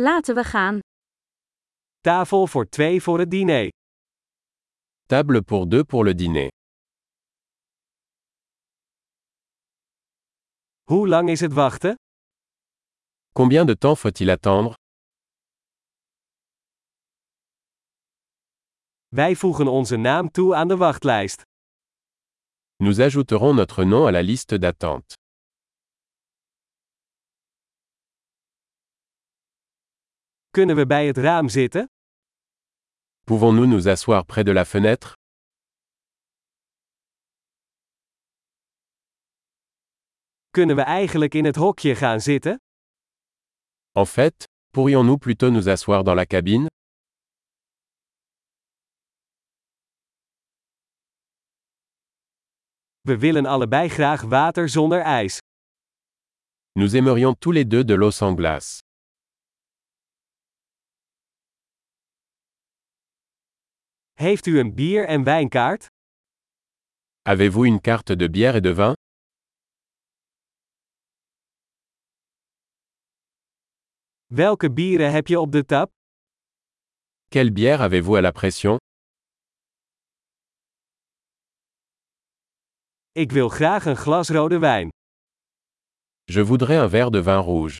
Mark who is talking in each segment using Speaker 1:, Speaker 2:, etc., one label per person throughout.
Speaker 1: Laten we gaan.
Speaker 2: Tafel voor twee voor het diner.
Speaker 3: Table pour deux pour le dîner.
Speaker 2: Hoe lang is het wachten?
Speaker 3: Combien de temps faut-il attendre
Speaker 2: Wij voegen onze naam toe aan de wachtlijst.
Speaker 3: Nous ajouterons notre nom à la liste d'attente.
Speaker 2: Kunnen we bij het raam zitten?
Speaker 3: Pouvons-nous nous asseoir près de la fenêtre
Speaker 2: Kunnen we eigenlijk in het hokje gaan zitten?
Speaker 3: En fait, pourrions-nous plutôt nous asseoir dans la cabine
Speaker 2: We willen allebei graag water zonder ijs.
Speaker 3: Nous aimerions tous les deux de l'eau sans glace.
Speaker 2: Heeft u een bier- en wijnkaart?
Speaker 3: Avez-vous une carte de bière et de vin
Speaker 2: Welke bieren heb je op de tap?
Speaker 3: Quelle bière avez-vous à la pression
Speaker 2: Ik wil graag een glas rode wijn.
Speaker 3: Je voudrais un verre de vin rouge.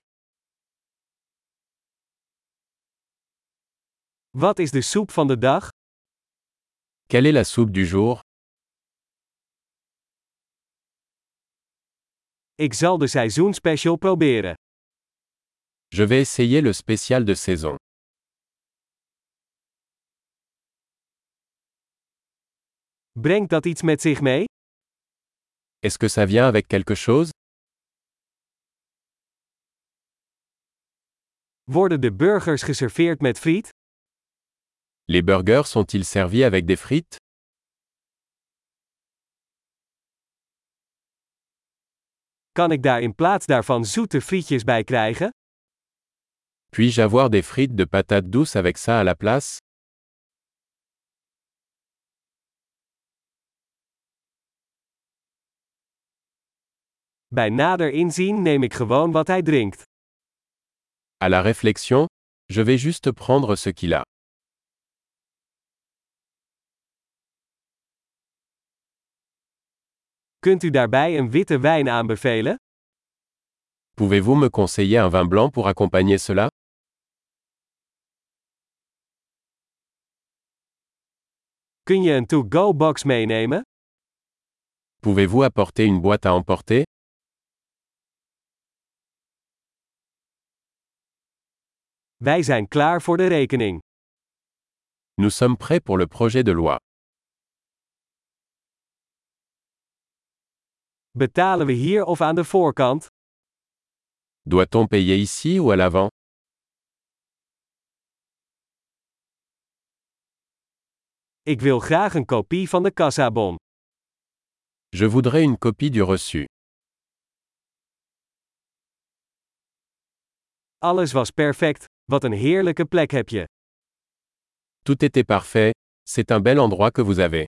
Speaker 2: Wat is de soep van de dag?
Speaker 3: Quelle est la soupe du jour
Speaker 2: Ik zal de seizoenspecial proberen.
Speaker 3: Je vais essayer le spécial de saison.
Speaker 2: Brengt dat iets met zich mee?
Speaker 3: Est-ce que ça vient avec quelque chose
Speaker 2: Worden de burgers geserveerd met friet?
Speaker 3: Les burgers sont-ils servis avec des frites
Speaker 2: Kan ik daar in plaats daarvan zoete frietjes bij krijgen?
Speaker 3: Puis-je avoir des frites de patates douces avec ça à la place
Speaker 2: Bij nader inzien neem ik gewoon wat hij drinkt.
Speaker 3: À la réflexion, je vais juste prendre ce qu'il a.
Speaker 2: Kunt u daarbij een witte wijn aanbevelen?
Speaker 3: Pouvez-vous me conseiller un vin blanc pour accompagner cela
Speaker 2: Kun je een to-go-box meenemen?
Speaker 3: Pouvez-vous apporter une boîte à emporter
Speaker 2: Wij zijn klaar voor de rekening.
Speaker 3: Nous sommes prêts pour le projet de loi.
Speaker 2: Betalen we hier of aan de voorkant?
Speaker 3: Doit-on payer ici ou à l'avant
Speaker 2: Ik wil graag een kopie van de kassabon.
Speaker 3: Je voudrais une copie du reçu.
Speaker 2: Alles was perfect. Wat een heerlijke plek heb je.
Speaker 3: Tout était parfait, c'est un bel endroit que vous avez.